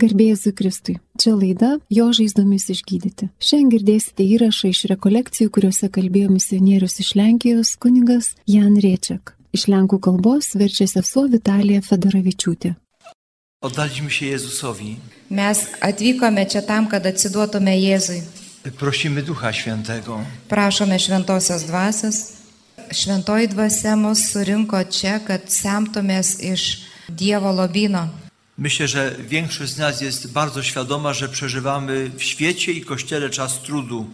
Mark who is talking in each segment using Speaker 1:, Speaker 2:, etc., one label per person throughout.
Speaker 1: Garbėjusui Kristui. Čia laida Jo žaizdomis išgydyti. Šiandien girdėsite įrašą iš rekolekcijų, kuriuose kalbėjo misionierius iš Lenkijos kuningas Jan Riečiak. Iš lenkų kalbos verčia sesuo Vitalija Fedoravičiūtė.
Speaker 2: Oddaliśmy się Jezusowi.
Speaker 3: Mes atvykome čia tam, kad atsiduotume Jėzui.
Speaker 2: Prosimy Ducha Świętego,
Speaker 3: Prašome šventosios dvasios. Šventoji dvasia mus surinko čia, kad semtumės iš Dievo lobino.
Speaker 2: Myślę, że większość z nas jest bardzo świadoma, że przeżywamy w świecie i kościele czas trudu.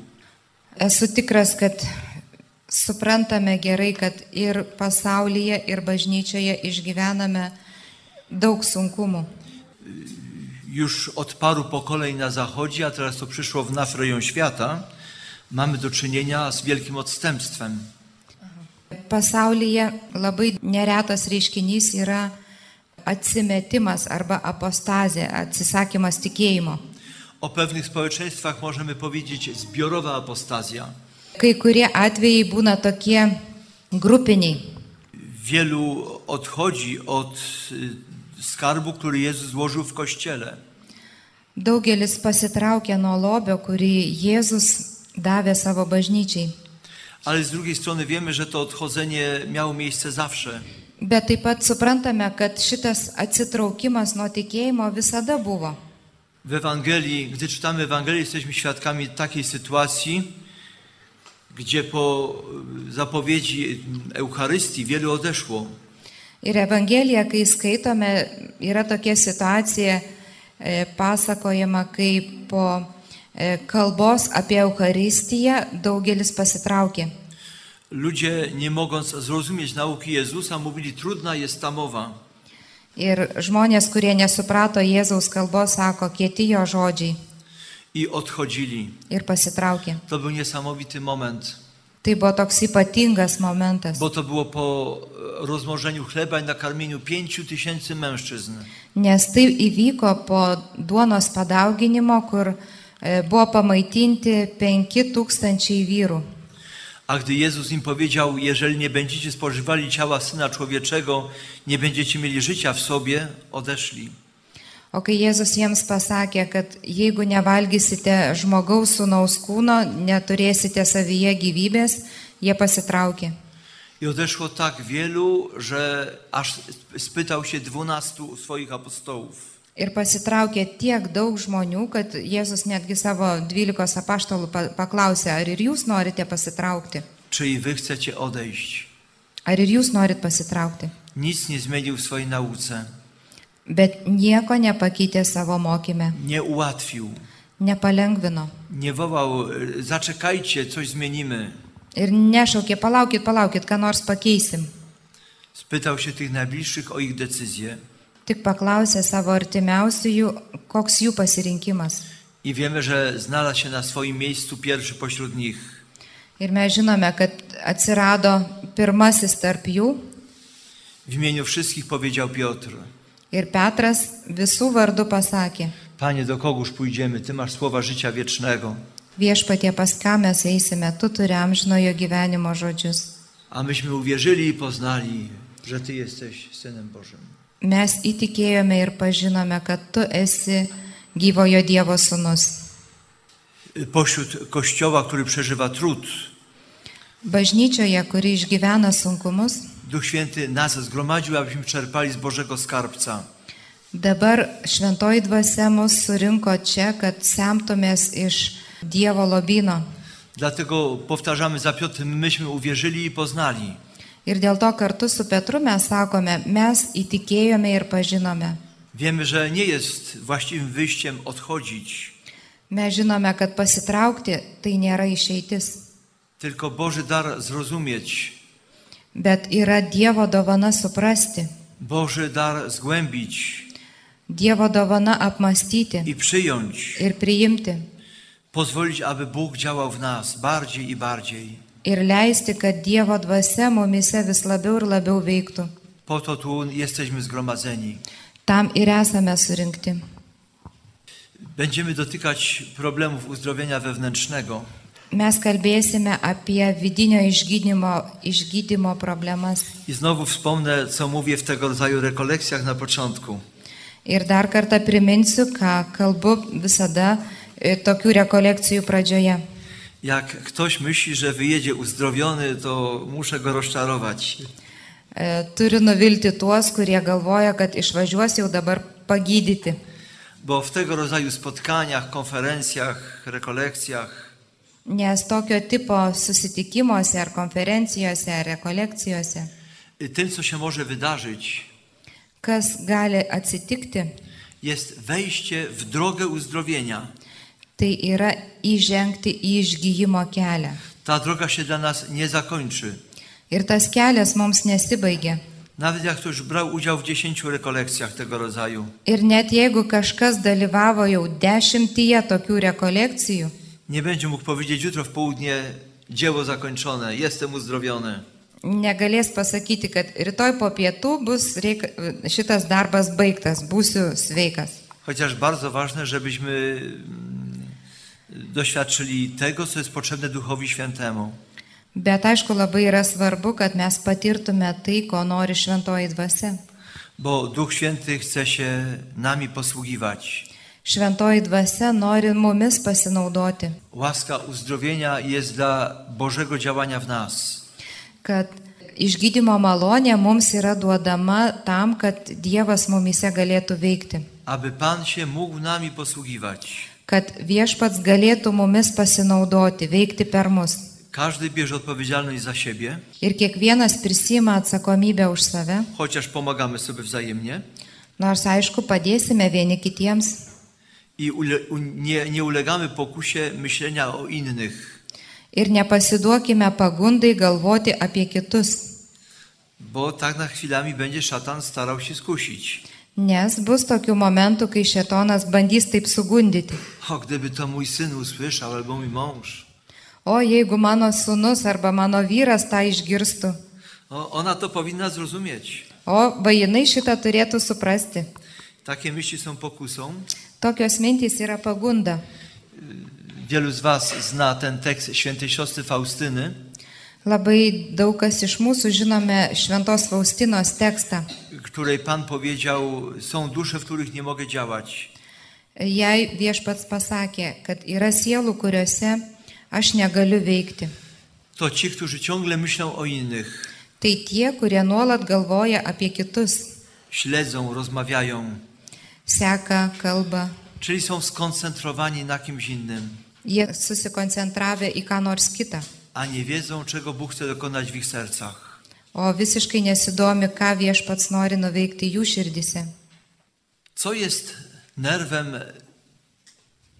Speaker 3: Esu tikras, kad suprantame gerai, kad ir pasaulyje, ir bažnyčioje išgyvename daug sunkumų.
Speaker 2: Już od paru pokoleń na zachodzie, a teraz to przyszło w nafreją świata, mamy do czynienia z wielkim odstępstwem.
Speaker 3: Pasaulyje labai neretas reiškinys yra atsimetimas arba apostazė, atsisakymas tikėjimo.
Speaker 2: O pewnych społeczeństwach możemy powiedzieć zbiorowa apostazja.
Speaker 3: Kai kurie atvejai būna tokie grupiniai.
Speaker 2: Wielu odchodzi od y, skarbu, który Jezus złożył w kościele.
Speaker 3: Daugelis pasitraukia nuo lobio, kurį Jėzus davė savo bažnyčiai.
Speaker 2: Ale z drugiej strony wiemy, że to odchodzenie miało miejsce zawsze.
Speaker 3: Bet taip pat suprantame, kad šitas atsitraukimas nuo tikėjimo visada buvo.
Speaker 2: W Ewangelii, gdy czytamy Ewangelię, jesteśmy świadkami takiej sytuacji, gdzie po y, zapowiedzi Eucharystii wielu odeszło.
Speaker 3: Ir Evangelija, kai skaitome, yra tokia situacija e, pasakojama, kai po e, kalbos apie Eucharistiją daugelis pasitraukė.
Speaker 2: Ludzie, nie mogąc zrozumieć nauki Jezusa, mówili: Trudna jest ta mowa.
Speaker 3: Ir žmonės, kurie nesuprato Jėzaus kalbos, sako kieti jo žodžiai
Speaker 2: I odchodzili.
Speaker 3: ir pasitraukė.
Speaker 2: To był niesamowity moment,
Speaker 3: Tai buvo toks ypatingas momentas,
Speaker 2: bo to było po e, rozmnożeniu chleba i nakarmieniu pięciu tysięcy mężczyzn.
Speaker 3: nes tai įvyko po duonos padauginimo, kur e, buvo pamaitinti 5000 vyrų.
Speaker 2: A gdy Jezus im powiedział: Jeżeli nie będziecie spożywali ciała syna człowieczego, nie będziecie mieli życia w sobie, odeszli.
Speaker 3: O kai Jėzus jiems pasakė, kad jeigu nevalgysite žmogaus sūnaus kūno, neturėsite savyje gyvybės, jie pasitraukė.
Speaker 2: I odeszło tak wielu, że aż spytał się dwunastu swoich apostołów.
Speaker 3: Ir pasitraukė tiek daug žmonių, kad Jėzus netgi savo dvylikos apaštalų pa- paklausė, ar ir jūs norite pasitraukti,
Speaker 2: Czy i wy chcecie odejść?
Speaker 3: ar ir jūs norit pasitraukti.
Speaker 2: Nic nie zmienił w swojej nauce,
Speaker 3: Bet nieko nepakeitė savo mokyme,
Speaker 2: nie ułatwił,
Speaker 3: nepalengvino.
Speaker 2: nie wołał: e, Zaczekajcie, coś zmienimy.
Speaker 3: Ir nešaukė, palaukit, palaukit, ką nors pakeisim.
Speaker 2: Spytał się tych najbliższych o ich decyzję.
Speaker 3: Tik paklausė savo artimiausiųjų, koks jų pasirinkimas.
Speaker 2: I wiemy, że znalazł się na swoim miejscu pierwszy pośród nich.
Speaker 3: Ir mes žinome, kad atsirado pirmasis tarp jų
Speaker 2: W imieniu wszystkich powiedział Piotr:
Speaker 3: ir Petras visų vardų pasakė,
Speaker 2: Panie, do kogóż pójdziemy? Ty masz słowa życia wiecznego.
Speaker 3: viešpatie pas ką mes eisime, tu turi amžinojo gyvenimo žodžius.
Speaker 2: A myśmy uwierzyli i poznali, że Ty jesteś Synem Bożym.
Speaker 3: Mes įtikėjome ir pažinome, kad tu esi gyvojo Dievo sūnus.
Speaker 2: Pośród Kościoła, który przeżywa trud,
Speaker 3: Bažnyčioje, kuri išgyvena sunkumus,
Speaker 2: Duch Święty nas zgromadził, abyśmy czerpali z Bożego Skarbca.
Speaker 3: dabar šventoji dvasia mus surinko čia, kad semtumės iš Dievo lobino.
Speaker 2: Dlatego powtarzamy za Piotrem, myśmy uwierzyli i poznali.
Speaker 3: Ir dėl to kartu su Petru mes sakome, mes įtikėjome ir pažinome.
Speaker 2: Wiemy, że nie jest właściwym wyjściem odchodzić,
Speaker 3: Mes žinome, kad pasitraukti tai nėra išeitis,
Speaker 2: tylko Boży dar zrozumieć,
Speaker 3: bet yra Dievo dovana suprasti,
Speaker 2: Boży dar zgłębić
Speaker 3: Dievo dovana apmastyti
Speaker 2: i przyjąć.
Speaker 3: ir priimti
Speaker 2: Pozwolić, aby Bóg działał w nas bardziej i bardziej.
Speaker 3: ir leisti, kad Dievo dvasia mumise vis labiau ir labiau veiktų.
Speaker 2: Po to tu jesteśmy zgromadzeni.
Speaker 3: Tam ir esame surinkti.
Speaker 2: Będziemy dotykać problemów uzdrowienia wewnętrznego.
Speaker 3: Mes kalbėsime apie vidinio išgydymo, išgydymo problemas.
Speaker 2: I znowu wspomnę, co mówię w tego rodzaju rekolekcjach na początku.
Speaker 3: Ir dar kartą priminsiu, ką kalbu visada e, tokių rekolekcijų pradžioje.
Speaker 2: Jak ktoś myśli, że wyjedzie uzdrowiony, to muszę go rozczarować.
Speaker 3: E, Turiu nuvilti tuos, kurie galvoja, kad išvažiuos jau dabar pagydyti.
Speaker 2: Bo w tego rodzaju spotkaniach, konferencjach, rekolekcjach
Speaker 3: Nes tokio tipo susitikimuose ar konferencijose ar rekolekcijose,
Speaker 2: y, tym, co się może wydarzyć,
Speaker 3: kas gali atsitikti,
Speaker 2: jest wejście w drogę uzdrowienia.
Speaker 3: tai yra įžengti į išgyjimo kelią.
Speaker 2: Ta droga się dla nas nie zakończy.
Speaker 3: Ir tas kelias mums nesibaigia.
Speaker 2: Nawet jak ktoś brał udział w dziesięciu rekolekcjach tego rodzaju,
Speaker 3: Ir net jeigu kažkas dalyvavo jau dešimtyje tokių rekolekcijų,
Speaker 2: nie będzie mógł powiedzieć jutro w południe dzieło zakończone, jestem uzdrowiony.
Speaker 3: negalės pasakyti, kad rytoj po pietų bus reik... šitas darbas baigtas, būsiu sveikas.
Speaker 2: Chociaż bardzo ważne, żebyśmy mm, doświadczyli tego, co jest potrzebne Duchowi Świętemu.
Speaker 3: Bet aišku, labai yra svarbu, kad mes patirtume tai, ko nori šventoji dvasia.
Speaker 2: Bo Duch Święty chce się nami posługiwać.
Speaker 3: Šventoji dvasia nori mumis pasinaudoti,
Speaker 2: Łaska uzdrowienia jest dla Bożego działania w nas.
Speaker 3: kad išgydymo malonė mums yra duodama tam, kad Dievas mumise galėtų veikti,
Speaker 2: aby Pan się mógł nami posługiwać.
Speaker 3: kad viešpats galėtų mumis pasinaudoti, veikti per mus.
Speaker 2: Każdy bierze odpowiedzialność za siebie,
Speaker 3: Ir kiekvienas prisima atsakomybę už save,
Speaker 2: chociaż pomagamy sobie wzajemnie
Speaker 3: nors aišku, padėsime vieni kitiems
Speaker 2: i ule, u, nie, nie ulegamy pokusie myślenia o innych,
Speaker 3: ir nepasiduokime pagundai galvoti apie kitus.
Speaker 2: bo tak na chwilami będzie szatan starał się skusić.
Speaker 3: Nes bus tokių momentų, kai šetonas bandys taip sugundyti.
Speaker 2: O, gdyby to mój syn usłyszał albo mój mąż.
Speaker 3: O jeigu mano sunus arba mano vyras tą išgirstų,
Speaker 2: O, ona to powinna zrozumieć.
Speaker 3: o vainai šitą turėtų suprasti.
Speaker 2: Takie myśli są pokusą.
Speaker 3: Tokios mintys yra pagunda.
Speaker 2: Wielu z Was zna ten tekst świętej siostry Faustyny,
Speaker 3: Labai daug kas iš mūsų žinome Šventos Faustinos tekstą.
Speaker 2: której Pan powiedział, są dusze, w których nie mogę działać.
Speaker 3: Jei viešpats pasakė, kad yra sielų, kuriuose aš negaliu veikti,
Speaker 2: to ci, którzy ciągle myślą o innych,
Speaker 3: tai tie, kurie nuolat galvoja apie kitus,
Speaker 2: śledzą, rozmawiają,
Speaker 3: seka kalbą,
Speaker 2: czyli są skoncentrowani na kimś innym,
Speaker 3: jie susikoncentravę į ką nors kitą.
Speaker 2: a nie wiedzą, czego Bóg chce dokonać w ich sercach.
Speaker 3: O visiškai nesidomi, ką viešpats nori nuveikti jų širdise.
Speaker 2: Co jest nerwem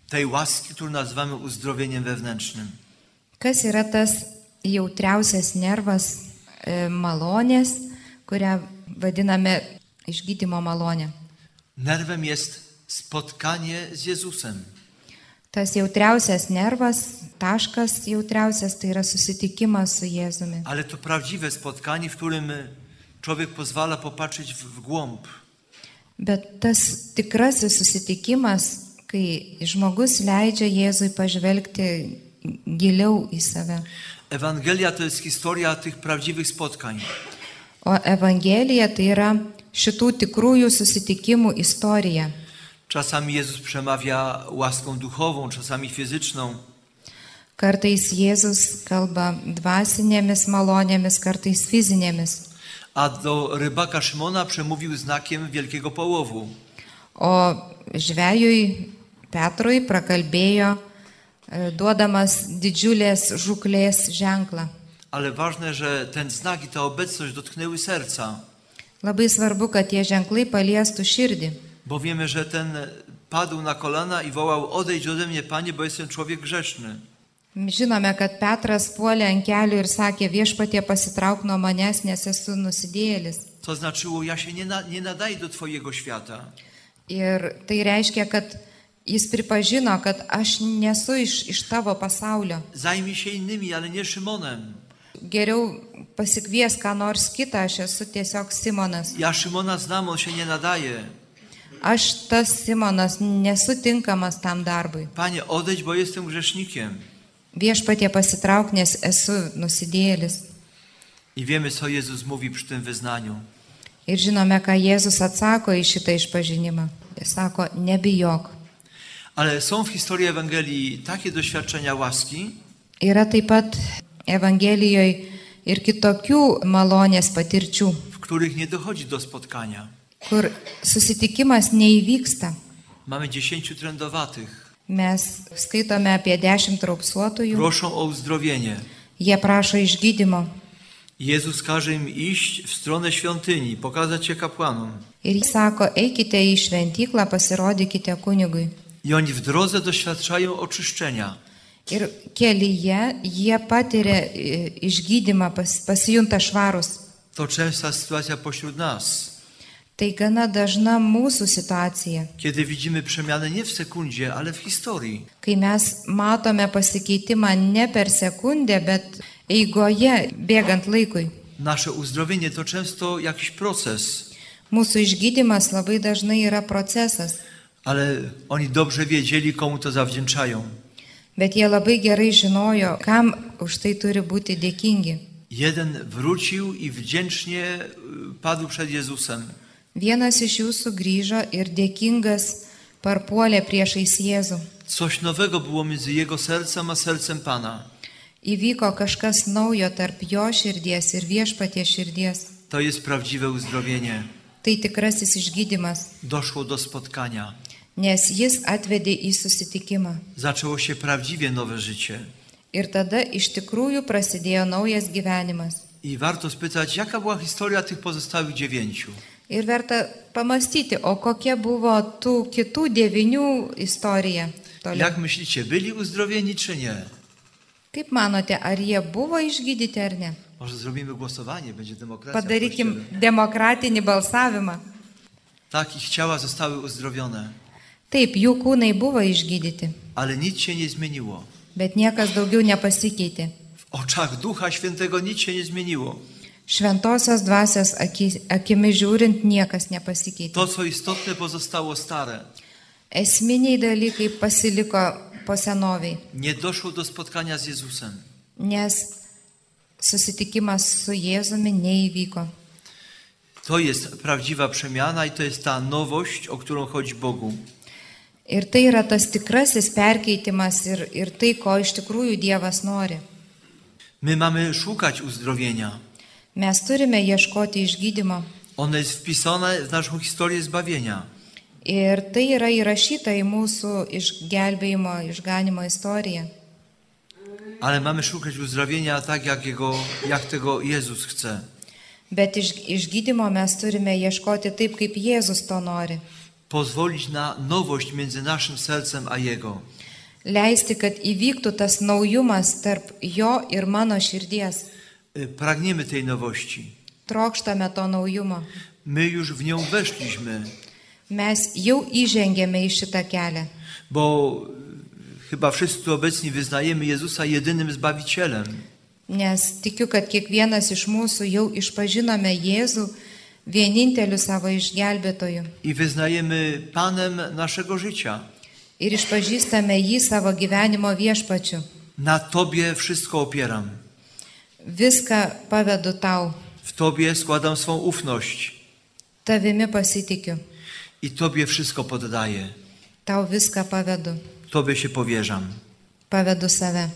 Speaker 2: tej łaski, którą nazywamy uzdrowieniem wewnętrznym?
Speaker 3: Kas yra tas jautriausias nervas e, malonės, kurią vadiname išgydymo malonė?
Speaker 2: Nerwem jest spotkanie z Jezusem.
Speaker 3: Tas jautriausias nervas, taškas jautriausias, tai yra susitikimas su Jėzumi.
Speaker 2: Ale to prawdziwe spotkanie, w którym człowiek pozwala popatrzeć w w głąb,
Speaker 3: Bet tas tikrasis susitikimas, kai žmogus leidžia Jėzui pažvelgti giliau į save.
Speaker 2: Ewangelia to jest historia tych prawdziwych spotkań.
Speaker 3: O Evangelija tai yra šitų tikrųjų susitikimų istorija.
Speaker 2: Czasami Jezus przemawia łaską duchową, czasami fizyczną,
Speaker 3: Kartais Jėzus kalba dvasinėmis malonėmis, kartais fizinėmis.
Speaker 2: a do rybaka Szymona przemówił znakiem wielkiego połowu.
Speaker 3: O žvėjui Petrui prakalbėjo e, duodamas didžiulės žuklės ženklą.
Speaker 2: Ale ważne, że ten znak i ta obecność dotknęły serca,
Speaker 3: Labai svarbu, kad tie ženklai paliestų širdį,
Speaker 2: bo wiemy, że ten padł na kolana i wołał: Odejdź ode mnie, panie, bo jestem człowiek grzeszny.
Speaker 3: Žinome, kad Petras puolė ant kelių ir sakė, viešpatie pasitrauk nuo manęs, nes esu nusidėjėlis.
Speaker 2: To znaczyło: Ja się nie, na, nie nadaję do Twojego świata.
Speaker 3: Ir tai reiškia, kad jis pripažino, kad aš nesu iš, iš tavo pasaulio.
Speaker 2: Zajmij się innymi, ale nie Szymonem.
Speaker 3: Geriau pasikvies ką nors kitą, aš esu tiesiog Simonas.
Speaker 2: Ja Szymona znam, on się nie nadaje.
Speaker 3: Aš tas Simonas nesu tinkamas tam darbui.
Speaker 2: Panie, odejdź, bo jestem grzesznikiem.
Speaker 3: Viešpatie pasitrauk, nes esu nusidėjėlis.
Speaker 2: I wiemy, co Jezus mówi przy tym wyznaniu.
Speaker 3: Ir žinome, ką Jėzus atsako į šitą išpažinimą. sako, nebijok.
Speaker 2: Ale są w historii Ewangelii takie doświadczenia łaski,
Speaker 3: Yra taip pat Evangelijoje ir kitokių malonės patirčių,
Speaker 2: w których nie dochodzi do spotkania.
Speaker 3: kur susitikimas neįvyksta.
Speaker 2: Mamy dziesięciu trędowatych.
Speaker 3: Mes skaitome apie dešimt raupsuotojų,
Speaker 2: Proszą o uzdrowienie.
Speaker 3: jie prašo išgydymo
Speaker 2: Jezus każe im iść w stronę świątyni, pokazać się kapłanom.
Speaker 3: ir jis sako, eikite į šventyklą, pasirodykite kunigui.
Speaker 2: I oni w drodze doświadczają oczyszczenia.
Speaker 3: Ir kelyje jie patiria e, išgydymą, pas, pasijunta švarus.
Speaker 2: To częsta sytuacja pośród nas,
Speaker 3: Tai gana dažna mūsų situacija,
Speaker 2: kiedy widzimy przemianę nie w sekundzie, ale w historii.
Speaker 3: kai mes matome pasikeitimą ne per sekundę, bet eigoje, bėgant laikui.
Speaker 2: Nasze uzdrowienie to często jakiś proces,
Speaker 3: Mūsų išgydymas labai dažnai yra procesas,
Speaker 2: ale oni dobrze wiedzieli, komu to zawdzięczają.
Speaker 3: bet jie labai gerai žinojo, kam už tai turi būti dėkingi.
Speaker 2: Jeden wrócił i wdzięcznie y, padł przed Jezusem.
Speaker 3: Vienas iš jų sugrįžo ir dėkingas parpuolė priešais Jėzų.
Speaker 2: Coś nowego było między jego sercem a sercem Pana.
Speaker 3: Įvyko kažkas naujo tarp jo širdies ir viešpatie širdies.
Speaker 2: To jest prawdziwe uzdrowienie.
Speaker 3: Tai tikrasis išgydymas,
Speaker 2: Doszło do spotkania.
Speaker 3: nes jis atvedė į susitikimą.
Speaker 2: Zaczęło się prawdziwie nowe życie.
Speaker 3: Ir tada iš tikrųjų prasidėjo naujas gyvenimas.
Speaker 2: I warto spytać, jaka była historia tych pozostałych dziewięciu?
Speaker 3: Ir verta pamastyti, o kokia buvo tų kitų devinių istorija. Toliau.
Speaker 2: Jak myślicie, byli uzdrowieni czy nie?
Speaker 3: Kaip manote, ar jie buvo išgydyti ar ne?
Speaker 2: Może zrobimy głosowanie, będzie demokracja. w
Speaker 3: Padarykim
Speaker 2: kościele.
Speaker 3: demokratinį balsavimą.
Speaker 2: Tak, ich ciała zostały uzdrowione,
Speaker 3: Taip, jų kūnai buvo išgydyti,
Speaker 2: ale nic się nie zmieniło.
Speaker 3: bet niekas daugiau nepasikeitė.
Speaker 2: W oczach Ducha Świętego nic się nie zmieniło.
Speaker 3: Šventosios dvasios aki- akimi žiūrint niekas nepasikeitė.
Speaker 2: To, co istotne, pozostało stare.
Speaker 3: Esminiai dalykai pasiliko po senoviai,
Speaker 2: Nie doszło do spotkania z Jezusem.
Speaker 3: nes susitikimas su Jėzumi neįvyko.
Speaker 2: To jest prawdziwa przemiana i to jest ta nowość, o którą chodzi Bogu.
Speaker 3: Ir tai yra tas tikrasis perkeitimas ir, ir tai, ko iš tikrųjų Dievas nori.
Speaker 2: My mamy szukać uzdrowienia.
Speaker 3: Mes turime ieškoti išgydymo.
Speaker 2: Ono jest wpisane w naszą historię zbawienia.
Speaker 3: Ir tai yra įrašyta į mūsų išgelbėjimo, išganimo istoriją.
Speaker 2: Ale mamy szukać uzdrowienia tak, jak, jego, jak tego Jezus chce.
Speaker 3: Bet iš, išgydymo mes turime ieškoti taip, kaip Jėzus to nori.
Speaker 2: Pozwolić na nowość między naszym sercem a Jego.
Speaker 3: Leisti, kad įvyktų tas naujumas tarp jo ir mano širdies.
Speaker 2: Y, Pragniemy tej nowości.
Speaker 3: Trokštame to naujumo.
Speaker 2: My już w nią weszliśmy,
Speaker 3: Mes jau įžengėme į šitą kelią.
Speaker 2: bo y, chyba wszyscy tu obecni wyznajemy Jezusa jedynym Zbawicielem.
Speaker 3: Nes tikiu, kad kiekvienas iš mūsų jau išpažinome Jėzų vieninteliu savo išgelbėtoju.
Speaker 2: i wyznajemy Panem naszego życia.
Speaker 3: Ir išpažįstame jį savo gyvenimo viešpačiu.
Speaker 2: Na Tobie wszystko opieram.
Speaker 3: Viską pavedu tau.
Speaker 2: W Tobie składam swą ufność
Speaker 3: Tavimi pasitikiu.
Speaker 2: i Tobie wszystko poddaję.
Speaker 3: Tau viską pavedu.
Speaker 2: Tobie się powierzam.
Speaker 3: Pavedu save.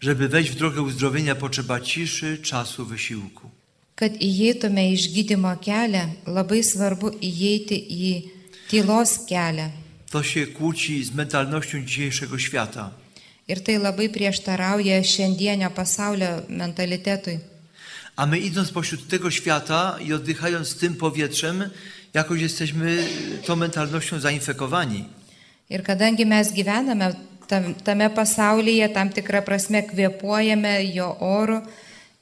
Speaker 2: Żeby wejść w drogę uzdrowienia potrzeba ciszy, czasu, wysiłku.
Speaker 3: Kad įeitume į išgydymo kelią, labai svarbu įeiti į tylos kelią.
Speaker 2: To się kłóci z mentalnością dzisiejszego świata.
Speaker 3: Ir tai labai prieštarauja šiandienio pasaulio mentalitetui.
Speaker 2: A my idąc pośród tego świata i oddychając tym powietrzem, jakoś jesteśmy tą mentalnością zainfekowani.
Speaker 3: Ir kadangi mes gyvename tam, tame pasaulyje, tam tikrą prasme kvepuojame jo oru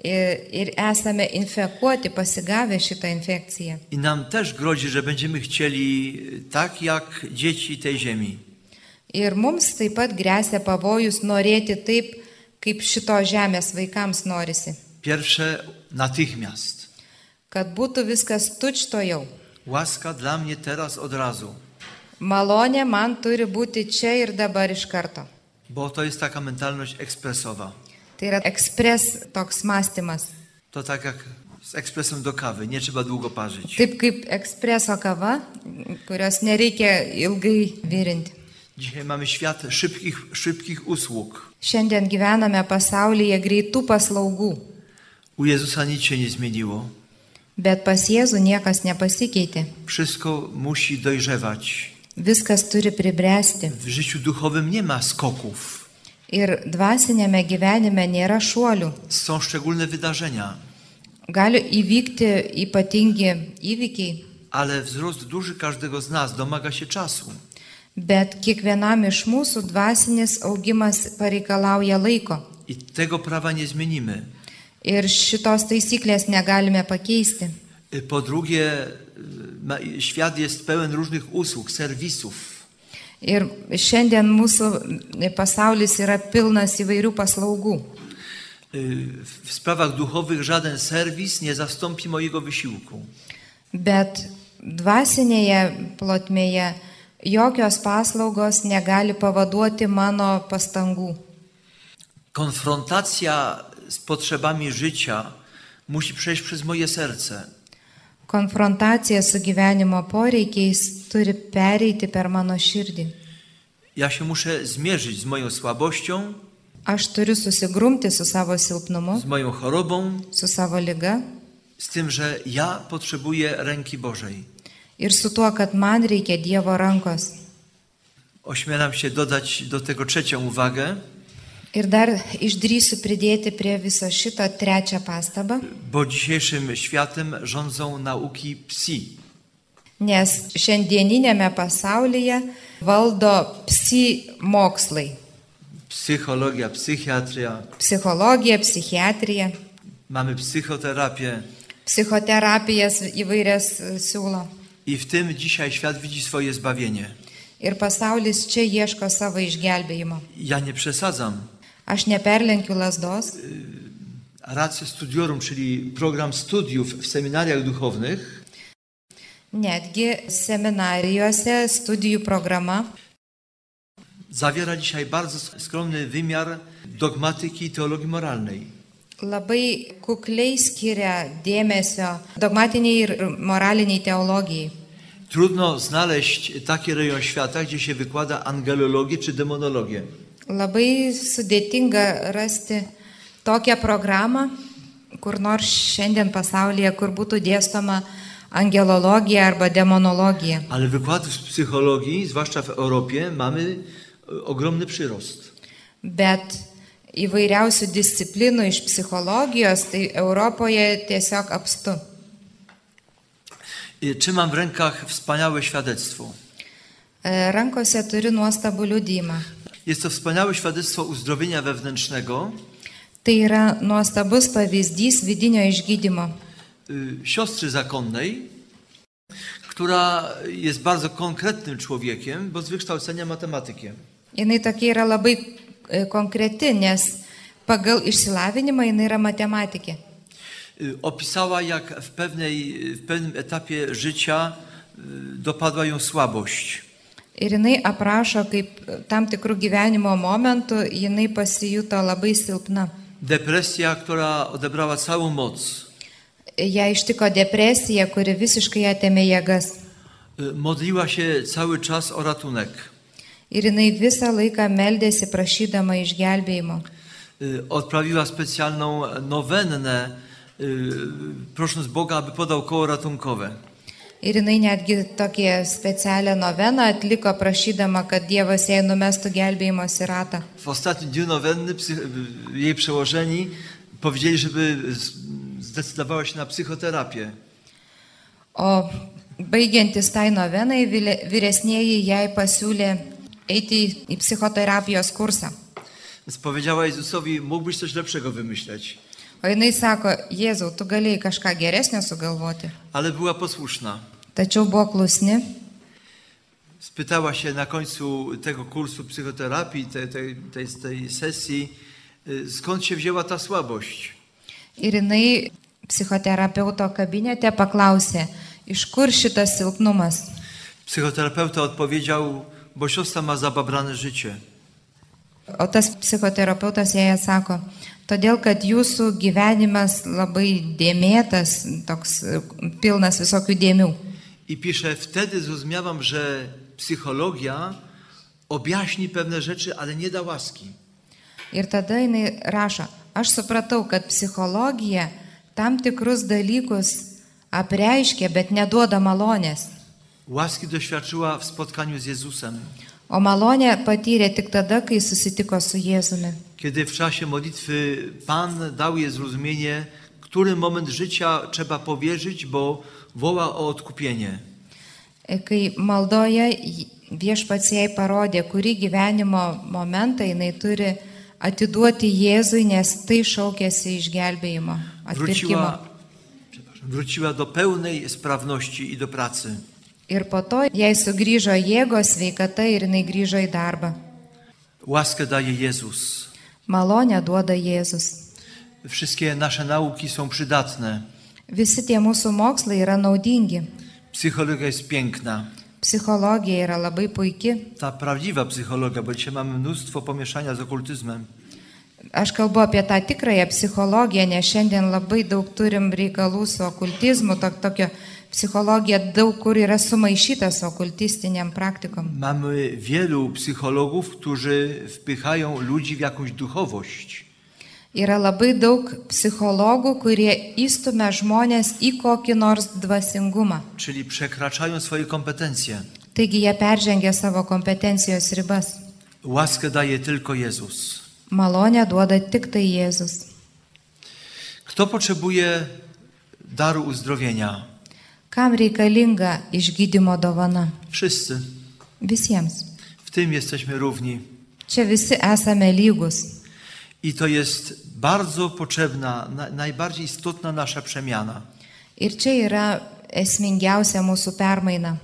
Speaker 3: ir, ir esame infekuoti, pasigavę šitą infekciją.
Speaker 2: I nam też grozi, że będziemy chcieli tak jak dzieci tej ziemi.
Speaker 3: Ir mums taip pat grėsia pavojus norėti taip, kaip šito žemės vaikams norisi.
Speaker 2: Pierwsze natychmiast.
Speaker 3: Kad būtų viskas tučtojau.
Speaker 2: Łaska dla mnie teraz od razu,
Speaker 3: Malonė man turi būti čia ir dabar iš karto.
Speaker 2: bo to jest taka mentalność ekspresowa.
Speaker 3: Tai yra ekspres toks mąstymas.
Speaker 2: To tak jak z ekspresem do kawy, nie trzeba długo parzyć.
Speaker 3: Taip kaip ekspreso kava, kurios nereikia ilgai virinti.
Speaker 2: Dzisiaj mamy świat szybkich, szybkich usług.
Speaker 3: Šiandien gyvename pasaulyje greitų paslaugų,
Speaker 2: U Jezusa nic się nie zmieniło.
Speaker 3: bet pas Jėzų niekas nepasikeitė.
Speaker 2: Wszystko musi dojrzewać.
Speaker 3: Viskas turi pribręsti.
Speaker 2: W życiu duchowym nie ma skoków.
Speaker 3: Ir dvasinėme gyvenime nėra šuolių.
Speaker 2: Są szczególne wydarzenia,
Speaker 3: Gali įvykti ypatingi įvykiai,
Speaker 2: ale wzrost duży każdego z nas domaga się czasu.
Speaker 3: bet kiekvienam iš mūsų dvasinis augimas pareikalauja laiko.
Speaker 2: I tego prawa nie zmienimy.
Speaker 3: Ir šitos taisyklės negalime pakeisti.
Speaker 2: Y, Po drugie, y, ma- y, świat jest pełen różnych usług, serwisów.
Speaker 3: Ir šiandien mūsų pasaulis yra pilnas įvairių paslaugų.
Speaker 2: Y, W sprawach duchowych żaden serwis nie zastąpi mojego wysiłku.
Speaker 3: Bet dvasinėje plotmėje jokios paslaugos negali pavaduoti mano pastangų.
Speaker 2: Konfrontacja z potrzebami życia musi przejść przez moje serce.
Speaker 3: Konfrontacija su gyvenimo poreikiais turi pereiti per mano širdį.
Speaker 2: Ja się muszę zmierzyć z moją słabością,
Speaker 3: Aš turiu susigrumti su savo silpnumu,
Speaker 2: z moją chorobą,
Speaker 3: su savo lyga
Speaker 2: z tym, że ja potrzebuję ręki Bożej.
Speaker 3: ir su tuo, kad man reikia Dievo rankos.
Speaker 2: Ośmielam się dodać do tego trzecią uwagę.
Speaker 3: Ir dar išdrysiu pridėti prie viso šito trečią pastabą,
Speaker 2: Bo dzisiejszym światem rządzą nauki psi.
Speaker 3: nes šiandieninėme pasaulyje valdo psi mokslai.
Speaker 2: Psychologia, psychiatria,
Speaker 3: psichologija, psichiatrija,
Speaker 2: mamy psychoterapię
Speaker 3: psichoterapijas įvairias e, siūlo.
Speaker 2: i w tym dzisiaj świat widzi swoje zbawienie.
Speaker 3: Ir pasaulis čia ieško savo išgelbėjimo.
Speaker 2: Ja nie przesadzam.
Speaker 3: Aš neperlenkiu lasdos,
Speaker 2: Rację studiorum, czyli program studiów w seminariach duchownych,
Speaker 3: netgi seminarijose studijų programa
Speaker 2: zawiera dzisiaj bardzo skromny wymiar dogmatyki i teologii moralnej.
Speaker 3: labai kukliai skiria dėmesio dogmatiniai ir moraliniai teologijai.
Speaker 2: Trudno znaleźć taki rejon świata, gdzie się wykłada angelologię czy demonologię.
Speaker 3: Labai sudėtinga rasti tokią programą, kur nors šiandien pasaulyje, kur būtų dėstoma angelologija arba demonologija.
Speaker 2: Ale wykładów z psychologii, zwłaszcza w Europie, mamy e, ogromny przyrost.
Speaker 3: Bet įvairiausių disciplinų iš psichologijos, tai Europoje tiesiog apstu.
Speaker 2: E, Trzymam w rękach wspaniałe świadectwo.
Speaker 3: E, Rankose turiu nuostabų liudymą.
Speaker 2: Jest to wspaniałe świadectwo uzdrowienia wewnętrznego.
Speaker 3: Tai yra nuostabus pavyzdys vidinio išgydymo.
Speaker 2: y, siostry zakonnej, która jest bardzo konkretnym człowiekiem, bo z wykształcenia matematykiem.
Speaker 3: Jis tokia yra labai e, konkreti, nes pagal išsilavinimą jinai yra matematikė.
Speaker 2: Y, Opisała, jak w, pewnej, w pewnym etapie życia y, dopadła ją słabość.
Speaker 3: Ir jinai aprašo, kaip e, tam tikrų gyvenimo momentų jinai pasijuto labai silpna.
Speaker 2: Depresja, która odebrała całą moc.
Speaker 3: Ja ištiko depresija, kuri visiškai atėmė jėgas.
Speaker 2: Y, Modliła się cały czas o ratunek.
Speaker 3: Ir jinai visą laiką meldėsi prašydama išgelbėjimo.
Speaker 2: Y, Odprawiła specjalną nowennę, y, prosząc Boga, aby podał koło ratunkowe.
Speaker 3: Ir jinai netgi tokią specialią noveną atliko prašydama, kad Dievas jai numestų gelbėjimo siratą.
Speaker 2: W ostatnim dniu nowenny psych- jej przełożeni powiedzieli, żeby z- zdecydowała się na psychoterapię.
Speaker 3: O baigiantis tai novenai, vile- vyresnieji jai pasiūlė eiti į- į psichoterapijos kursą.
Speaker 2: Więc powiedziała Jezusowi, mógłbyś coś lepszego wymyśleć.
Speaker 3: O jinai sako, Jėzau, tu galėjai kažką geresnio sugalvoti.
Speaker 2: Ale była posłuszna.
Speaker 3: Tačiau buvo klusni
Speaker 2: Spytała się na końcu tego kursu psychoterapii, tej, tej, tej, tej sesji, y, skąd się wzięła ta słabość.
Speaker 3: ir jinai psichoterapeuto kabinete paklausė, iš kur šitas silpnumas.
Speaker 2: Psychoterapeuta odpowiedział, bo siostra ma zababrane życie.
Speaker 3: O tas psichoterapeutas jai atsako, todėl kad jūsų gyvenimas labai dėmėtas, toks e, pilnas visokių dėmių.
Speaker 2: I pisze, wtedy zrozumiałam, że psychologia objaśni pewne rzeczy, ale nie da łaski.
Speaker 3: Ir tada jinai rašo, aš supratau, kad psichologija tam tikrus dalykus apreiškia, bet neduoda malonės.
Speaker 2: Łaski doświadczyła w spotkaniu z Jezusem,
Speaker 3: O malonę patyrė tik tada, kai susitiko su Jėzumi.
Speaker 2: kiedy w czasie modlitwy Pan dał jej zrozumienie, który moment życia trzeba powierzyć, bo woła o odkupienie.
Speaker 3: E, Kai maldoje j- viešpats jai parodė, kurį gyvenimo momentą jinai turi atiduoti Jėzui, nes tai šaukėsi išgelbėjimo, atpirkimo.
Speaker 2: Wróciła, przepraszam, wróciła do pełnej sprawności i do pracy.
Speaker 3: Ir po to jai sugrįžo jėgos, sveikata ir jinai grįžo į darbą.
Speaker 2: Łaskę daje Jezus.
Speaker 3: Malonę duoda Jėzus.
Speaker 2: Wszystkie nasze nauki są przydatne.
Speaker 3: Visi tie mūsų mokslai yra naudingi.
Speaker 2: Psychologia jest piękna.
Speaker 3: Psichologija yra labai puikia.
Speaker 2: Ta prawdziwa psychologia, bo dzisiaj mamy mnóstwo pomieszania z okultyzmem.
Speaker 3: Aš kalbu apie tą tikrąją psichologiją, nes šiandien labai daug turim reikalų su okultizmu, to, tokio psichologija daug kur yra sumaišyta su okultistiniam praktikom.
Speaker 2: Mamy wielu psychologów, którzy wpychają ludzi w jakąś duchowość.
Speaker 3: Yra labai daug psichologų, kurie įstumia žmonės į kokį nors dvasingumą.
Speaker 2: czyli przekraczają swoje kompetencje.
Speaker 3: Taigi jie peržengia savo kompetencijos ribas.
Speaker 2: Łaskę daje tylko Jezus.
Speaker 3: Malonę duoda tik tai Jėzus.
Speaker 2: Kto potrzebuje daru uzdrowienia?
Speaker 3: Kam reikalinga išgydymo dovana?
Speaker 2: Wszyscy.
Speaker 3: Visiems.
Speaker 2: W tym jesteśmy równi.
Speaker 3: Čia visi esame lygus.
Speaker 2: I to jest bardzo potrzebna, na, najbardziej istotna nasza przemiana.
Speaker 3: Ir čia yra esmingiausia mūsų permaina.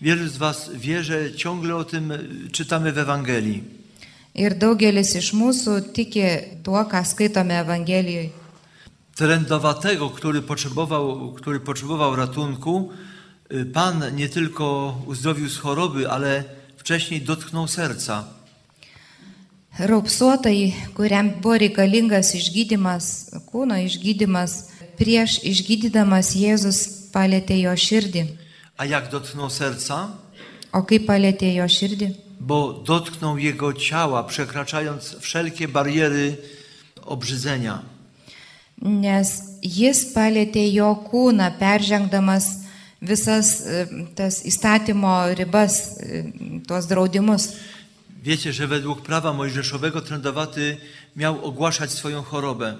Speaker 2: Wielu z Was wie, że ciągle o tym y, czytamy w Ewangelii.
Speaker 3: Ir daugelis iš mūsų tiki tuo, ką skaitome Evangelijoje.
Speaker 2: Trędowatego, który potrzebował, który potrzebował ratunku, y, Pan nie tylko uzdrowił z choroby, ale wcześniej dotknął serca.
Speaker 3: Raupsuotai, kuriam buvo reikalingas išgydymas, kūno išgydymas, prieš išgydydamas Jėzus palėtė jo širdį.
Speaker 2: A jak dotknął serca?
Speaker 3: O kaip palėtė jo širdį?
Speaker 2: Bo dotknął jego ciała, przekraczając wszelkie bariery obrzydzenia.
Speaker 3: Nes jis palėtė jo kūną, peržengdamas visas e, tas įstatymo ribas, e, tuos draudimus.
Speaker 2: Wiecie, że według prawa mojżeszowego trędowaty miał ogłaszać swoją chorobę.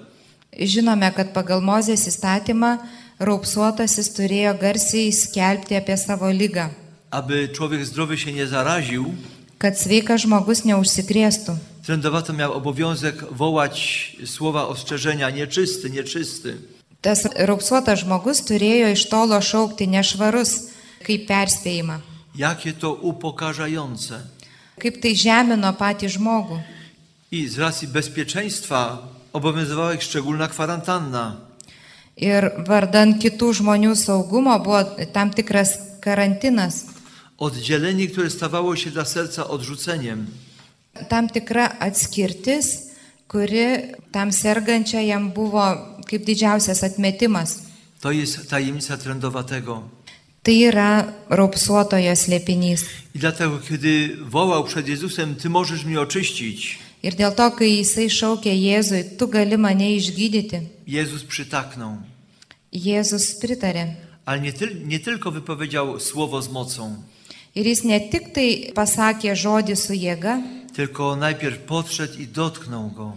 Speaker 3: Žinome, kad pagal Mozės įstatymą raupsuotasis turėjo garsiai skelbti apie savo lygą,
Speaker 2: Aby człowiek zdrowy się nie zaraził,
Speaker 3: kad sveikas žmogus neužsikrėstų.
Speaker 2: trędowaty miał obowiązek wołać słowa ostrzeżenia nieczysty, nieczysty.
Speaker 3: Tas raupsuotas žmogus turėjo iš tolo šaukti nešvarus kaip perspėjimą.
Speaker 2: Jakie to upokarzające.
Speaker 3: Kaip tai žemino patį žmogų.
Speaker 2: I z racji bezpieczeństwa obowiązywała ich szczególna kwarantanna.
Speaker 3: Ir vardan kitų žmonių saugumo buvo tam tikras karantinas,
Speaker 2: Oddzielenie, które stawało się dla serca odrzuceniem.
Speaker 3: tam tikra atskirtis, kuri tam sergančiajam buvo kaip didžiausias atmetimas.
Speaker 2: To jest tajemnica trendowatego.
Speaker 3: Tai yra raupsuotojo slėpinys.
Speaker 2: I dlatego, kiedy wołał przed Jezusem, Ty możesz mnie oczyścić,
Speaker 3: Ir dėl to, kai jisai šaukė Jėzui, tu gali mane išgydyti,
Speaker 2: Jezus przytaknął.
Speaker 3: Jėzus pritarė.
Speaker 2: Ale nie, tyl, nie tylko wypowiedział słowo z mocą,
Speaker 3: Ir jis ne tik tai pasakė žodį su jėga,
Speaker 2: tylko najpierw podszedł i dotknął go,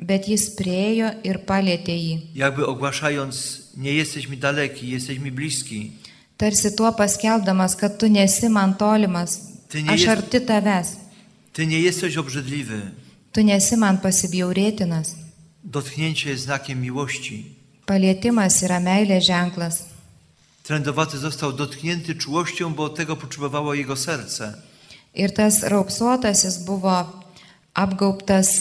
Speaker 3: bet jis priejo ir palėtė jį.
Speaker 2: jakby ogłaszając: Nie jesteś mi daleki, jesteś mi bliski.
Speaker 3: Tarsi tuo paskelbdamas, kad tu nesi man tolimas,
Speaker 2: Tai ne
Speaker 3: aš
Speaker 2: jis-
Speaker 3: arti tavęs,
Speaker 2: Ty nie jesteś obrzydliwy.
Speaker 3: tu nesi man pasibjaurėtinas.
Speaker 2: Dotknięcie jest znakiem miłości.
Speaker 3: Palėtimas yra meilės ženklas.
Speaker 2: Trędowaty został dotknięty czułością, bo tego potrzebowało jego serce.
Speaker 3: Ir tas raupsuotasis buvo apgaubtas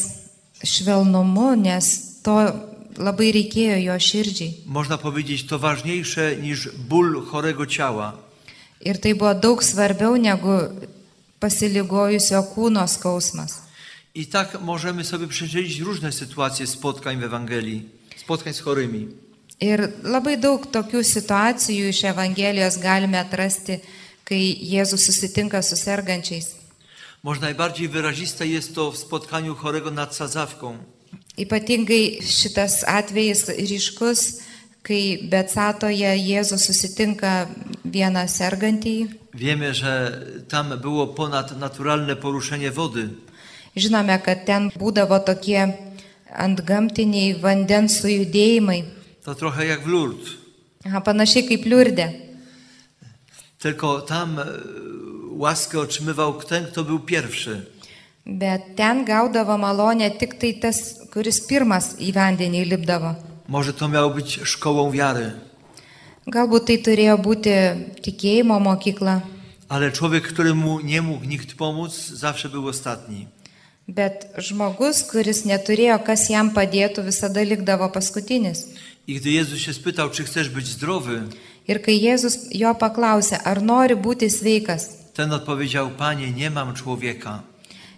Speaker 3: švelnumu, nes to labai reikėjo jo širdžiai.
Speaker 2: Można powiedzieć, to ważniejsze niż ból chorego ciała.
Speaker 3: Ir tai buvo daug svarbiau negu pasiligojusio kūno skausmas.
Speaker 2: I tak możemy sobie przeczytać różne sytuacje spotkań w Ewangelii, spotkań z chorymi.
Speaker 3: Ir labai daug tokių situacijų iš Evangelijos galime atrasti, kai Jėzus susitinka su sergančiais.
Speaker 2: Może najbardziej wyraziste jest to w spotkaniu chorego nad sadzawką.
Speaker 3: Ypatingai šitas atvejis ryškus, kai Betsatoje Jėzus susitinka vieną sergantįjį.
Speaker 2: Wiemy, że tam było ponadnaturalne poruszenie wody.
Speaker 3: Žinome, kad ten būdavo tokie antgamtiniai vandens sujudėjimai,
Speaker 2: To trochę jak w Lourdes.
Speaker 3: Aha, panašiai kaip liurdė.
Speaker 2: Tylko tam e, łaskę otrzymywał ten, kto był pierwszy.
Speaker 3: Bet ten gaudavo malonę tik tai tas, kuris pirmas į vandenį lipdavo.
Speaker 2: Może to miało być szkołą wiary.
Speaker 3: Galbūt tai turėjo būti tikėjimo mokykla,
Speaker 2: Ale człowiek, któremu nie mógł nikt pomóc, zawsze był ostatni.
Speaker 3: bet žmogus, kuris neturėjo, kas jam padėtų, visada likdavo paskutinis.
Speaker 2: I gdy Jezus się spytał, czy chcesz być zdrowy,
Speaker 3: Ir kai Jėzus jo paklausė, ar nori būti sveikas,
Speaker 2: ten odpowiedział: Panie, nie mam człowieka.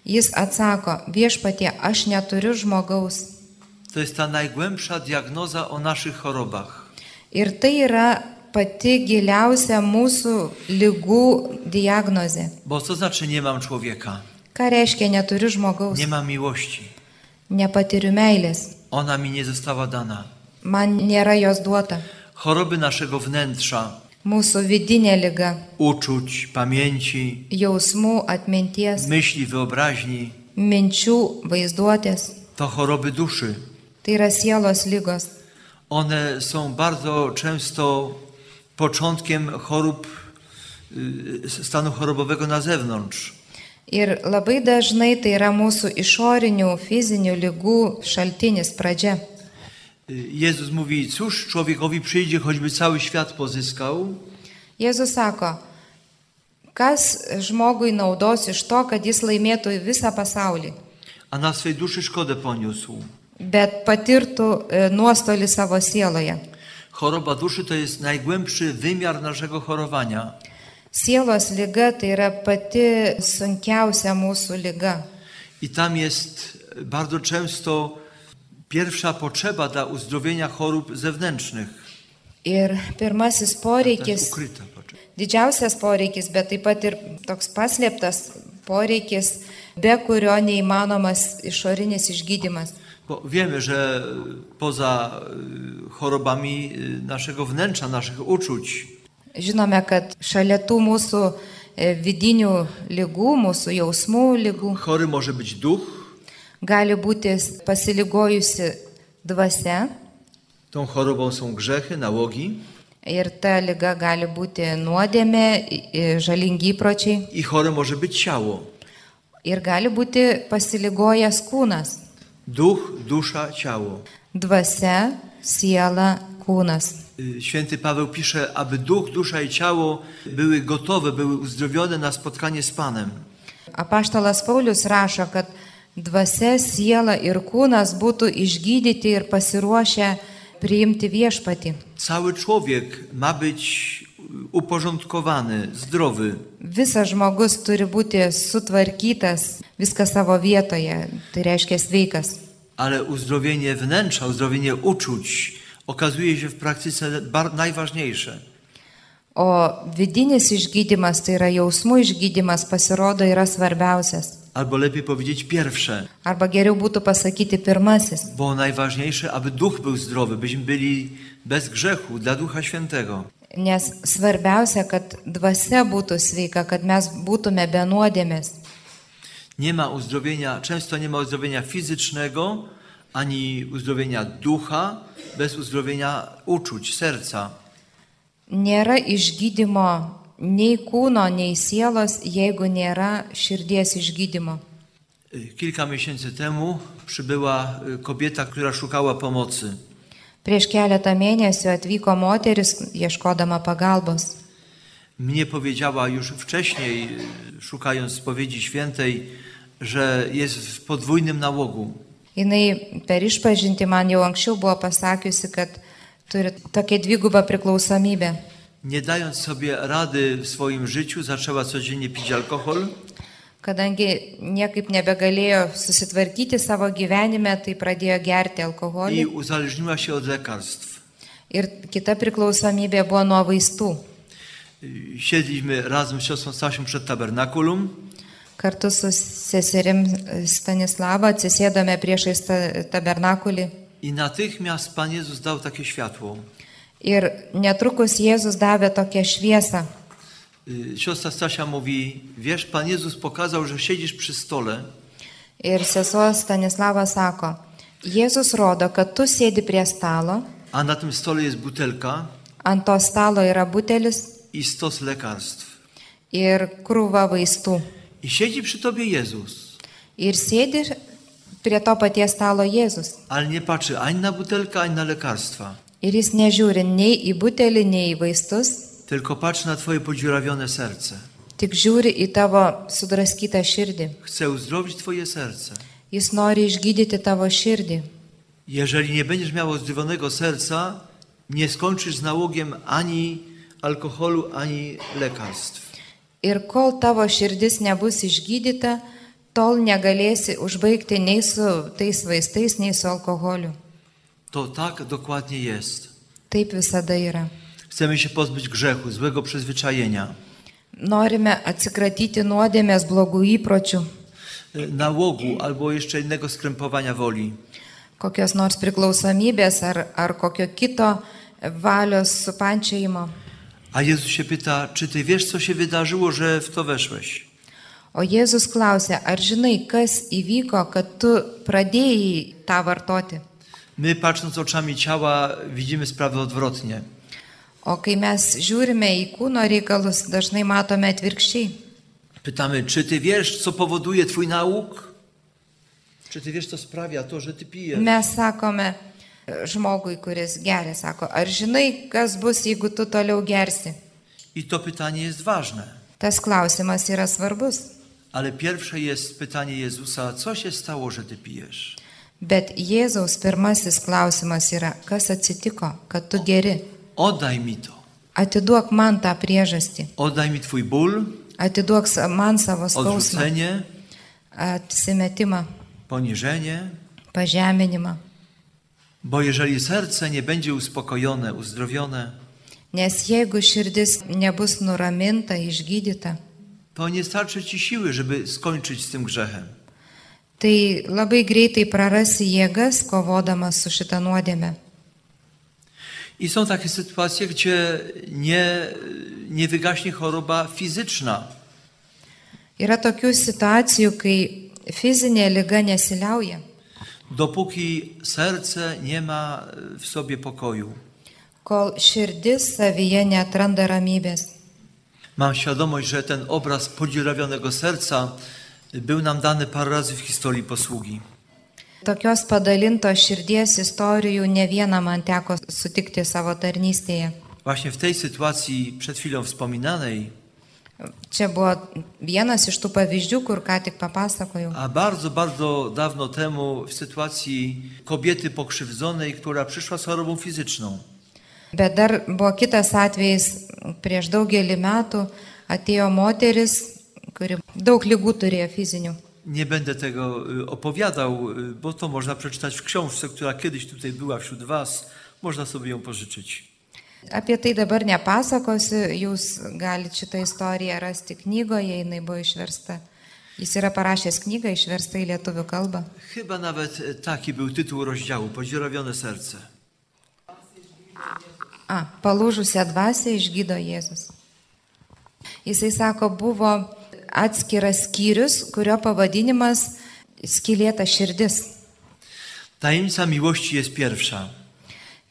Speaker 3: jis atsako, viešpatie, aš neturiu žmogaus.
Speaker 2: To jest ta najgłębsza diagnoza o naszych chorobach.
Speaker 3: Ir tai yra pati giliausia mūsų lygų diagnozė.
Speaker 2: Bo co znaczy nie mam człowieka?
Speaker 3: Ką reiškia neturiu žmogaus?
Speaker 2: Nie mam miłości.
Speaker 3: Nepatiriu meilės.
Speaker 2: Ona mi nie została dana.
Speaker 3: Man nėra jos duota.
Speaker 2: Choroby naszego wnętrza,
Speaker 3: Mūsų vidinė lyga,
Speaker 2: uczuć, pamięci,
Speaker 3: jausmų, atminties,
Speaker 2: myśli, wyobraźni,
Speaker 3: minčių, vaizduotės.
Speaker 2: to choroby duszy.
Speaker 3: Tai yra sielos lygos.
Speaker 2: One są bardzo często początkiem chorób, y, stanu chorobowego na zewnątrz.
Speaker 3: Ir labai dažnai tai yra mūsų išorinių fizinių lygų šaltinis pradžia.
Speaker 2: Y, Jezus mówi, cóż człowiekowi przyjdzie, choćby cały świat pozyskał,
Speaker 3: Jėzus sako, kas žmogui naudos iš to, kad jis laimėtų visą pasaulį,
Speaker 2: a na swej duszy szkodę poniósł.
Speaker 3: bet patirtų e, nuostolį savo sieloje.
Speaker 2: Choroba duszy to jest najgłębszy wymiar naszego chorowania.
Speaker 3: Sielos lyga tai yra pati sunkiausia mūsų lyga.
Speaker 2: I tam jest bardzo często pierwsza potrzeba dla uzdrowienia chorób zewnętrznych.
Speaker 3: Ir pirmasis
Speaker 2: To
Speaker 3: poreikis,
Speaker 2: jest ukryta potrzeba.
Speaker 3: didžiausias poreikis, bet taip pat ir toks paslėptas poreikis, be kurio neįmanomas išorinis išgydymas.
Speaker 2: Bo wiemy, że poza y, chorobami y, naszego wnętrza, naszych uczuć,
Speaker 3: Žinome, kad šalia tų mūsų e, vidinių lygų, mūsų jausmų lygų,
Speaker 2: chory może być duch,
Speaker 3: gali būti pasiligojusi dvasia
Speaker 2: tą chorobą są grzechy, nałogi
Speaker 3: ir ta lyga gali būti nuodėmė, i- i žalingi įpročiai
Speaker 2: i chore może być ciało.
Speaker 3: ir gali būti pasiligojęs kūnas.
Speaker 2: Duch, dusza, ciało.
Speaker 3: Dvasia, siela, kūnas.
Speaker 2: Y, Święty Paweł pisze, aby duch, dusza i ciało były gotowe, były uzdrowione na spotkanie z Panem.
Speaker 3: Apaštalas Paulius rašo, kad dvasia, siela ir kūnas būtų išgydyti ir pasiruošę priimti viešpatį.
Speaker 2: Cały człowiek ma być y, uporządkowany, zdrowy.
Speaker 3: Visas žmogus turi būti sutvarkytas, viskas savo vietoje, tai reiškia sveikas.
Speaker 2: Ale uzdrowienie wnętrza, uzdrowienie uczuć okazuje się w praktyce bar- najważniejsze.
Speaker 3: O vidinis išgydymas, tai yra jausmų išgydymas, pasirodo yra svarbiausias.
Speaker 2: Albo lepiej powiedzieć pierwsze,
Speaker 3: Arba geriau būtų pasakyti pirmasis.
Speaker 2: bo najważniejsze, aby duch był zdrowy, byśmy byli bez grzechu dla Ducha Świętego.
Speaker 3: Nes svarbiausia, kad dvasia būtų sveika, kad mes būtume be nuodėmės.
Speaker 2: Nie ma uzdrowienia, często nie ma uzdrowienia fizycznego, ani uzdrowienia ducha bez uzdrowienia uczuć, serca.
Speaker 3: Nėra išgydymo nei kūno, nei sielos, jeigu nėra širdies išgydymo.
Speaker 2: Y, Kilka miesięcy temu przybyła y, kobieta, która szukała pomocy.
Speaker 3: Prieš keletą mėnesių atvyko moteris ieškodama pagalbos.
Speaker 2: Mnie powiedziała już wcześniej, y, szukając spowiedzi świętej, że jest w podwójnym nałogu.
Speaker 3: Jis per išpažinti man jau anksčiau buvo pasakiusi, kad turi tokia dvigubą priklausomybę.
Speaker 2: Nie dając sobie rady w swoim życiu, zaczęła codziennie pić alkohol,
Speaker 3: kadangi niekaip nebegalėjo susitvarkyti savo gyvenime, tai pradėjo gerti alkoholį
Speaker 2: i uzależniła się od lekarstw.
Speaker 3: ir kita priklausomybė buvo nuo vaistų.
Speaker 2: Siedliśmy razem z siostrą Stasią przed tabernakulum
Speaker 3: Kartu su seserim Stanislava atsisėdome priešais ta- tabernakulį
Speaker 2: i natychmiast Pan Jezus dał takie światło.
Speaker 3: ir netrukus Jėzus davė tokią šviesą.
Speaker 2: Y, Siostra Stasia mówi, wiesz, Pan Jezus pokazał, że siedzisz przy stole
Speaker 3: Ir sesuo Stanislava sako, Jėzus rodo, kad tu sėdi prie stalo,
Speaker 2: A na tym stole jest butelka
Speaker 3: ant to stalo yra butelis
Speaker 2: i stos lekarstw.
Speaker 3: ir krūva vaistų.
Speaker 2: I siedzi przy tobie Jezus,
Speaker 3: Ir sėdi prie to paties stalo Jėzus.
Speaker 2: ale nie patrzy ani na butelkę, ani na lekarstwa,
Speaker 3: Ir jis nežiūri nei į butelį, nei į vaistus,
Speaker 2: tylko patrzy na twoje podziurawione serce.
Speaker 3: tik žiūri į tavo sudraskytą širdį.
Speaker 2: Chce uzdrowić twoje serce.
Speaker 3: Jis nori išgydyti tavo širdį.
Speaker 2: Jeżeli nie będziesz miał uzdrowionego serca, nie skończysz z nałogiem ani alkoholu, ani lekarstw.
Speaker 3: Ir kol tavo širdis nebus išgydyta, tol negalėsi užbaigti nei su tais vaistais, nei su alkoholiu.
Speaker 2: To tak dokładnie jest.
Speaker 3: Taip visada yra.
Speaker 2: Chcemy się pozbyć grzechu, złego przyzwyczajenia,
Speaker 3: Norime atsikratyti nuodėmės blogų įpročių,
Speaker 2: y, nałogu albo jeszcze innego skrępowania woli.
Speaker 3: kokios nors priklausomybės ar, ar kokio kito valios supančiajimo.
Speaker 2: A Jezus się pyta, czy ty wiesz, co się wydarzyło, że w to weszłeś?
Speaker 3: O Jėzus klausė, ar žinai, kas įvyko, kad tu pradėjai tą vartoti?
Speaker 2: My, patrząc oczami ciała, widzimy sprawę odwrotnie.
Speaker 3: O kai mes žiūrime į kūno reikalus, dažnai matome atvirkščiai.
Speaker 2: Pytamy, czy ty wiesz, co powoduje twój nauk? Czy ty wiesz, co sprawia to, że ty pijesz?
Speaker 3: Mes sakome e, žmogui, kuris geria, sako, ar žinai, kas bus, jeigu tu toliau gersi?
Speaker 2: I to pytanie jest ważne.
Speaker 3: Tas klausimas yra svarbus.
Speaker 2: Ale pierwsze jest pytanie Jezusa, co się stało, że ty pijesz?
Speaker 3: Bet Jėzaus pirmasis klausimas yra, kas atsitiko, kad tu geri?
Speaker 2: Oddaj mi to.
Speaker 3: Atiduok man tą priežastį,
Speaker 2: Oddaj mi twój ból,
Speaker 3: atiduok sa- man savo skausmą,
Speaker 2: odrzucenie,
Speaker 3: apsimetimą,
Speaker 2: poniżenie.
Speaker 3: pažeminimą.
Speaker 2: Bo jeżeli serce nie będzie uspokojone, uzdrowione,
Speaker 3: Nes jeigu širdis nebus nuraminta, išgydyta,
Speaker 2: to nie starczy ci siły, żeby skończyć z tym grzechem.
Speaker 3: tai labai greitai prarasi jėgas kovodamas su šitą nuodėmę.
Speaker 2: I są takie sytuacje, gdzie nie, nie wygaśnie choroba fizyczna.
Speaker 3: Yra tokių situacijų, kai fizinė lyga nesiliauja,
Speaker 2: Dopóki serce nie ma e, w sobie pokoju.
Speaker 3: kol širdis savyje netranda ramybės.
Speaker 2: Mam świadomość, że ten obraz podziurawionego serca e, był nam dany parę razy w historii posługi.
Speaker 3: Tokios padalintos širdies istorijų ne vieną man teko sutikti savo tarnystėje.
Speaker 2: Właśnie w tej sytuacji przed chwilą wspominanej,
Speaker 3: Čia buvo vienas iš tų pavyzdžių, kur ką tik papasakojau.
Speaker 2: a bardzo, bardzo dawno temu w sytuacji kobiety pokrzywdzonej, która przyszła z chorobą fizyczną.
Speaker 3: Bet dar buvo kitas atvejis, prieš daugelį metų atėjo moteris, kuri daug lygų turėjo fizinių.
Speaker 2: Nie będę tego y, opowiadał, y, bo to można przeczytać w książce, która kiedyś tutaj była wśród Was. Można sobie ją pożyczyć.
Speaker 3: Apie tai dabar nepasakosiu, jūs galite šitą istoriją rasti knygoje, jinai buvo išversta. Jis yra parašęs knygą išversta į lietuvių kalbą.
Speaker 2: Chyba nawet y, taki był tytuł rozdziału: Podziurawione serce.
Speaker 3: A, palūžusią dvasę išgydo Jėzus. Jisai sako, buvo atskiras skyrius, kurio pavadinimas skilėta širdis.
Speaker 2: Tajemnica miłości jest pierwsza.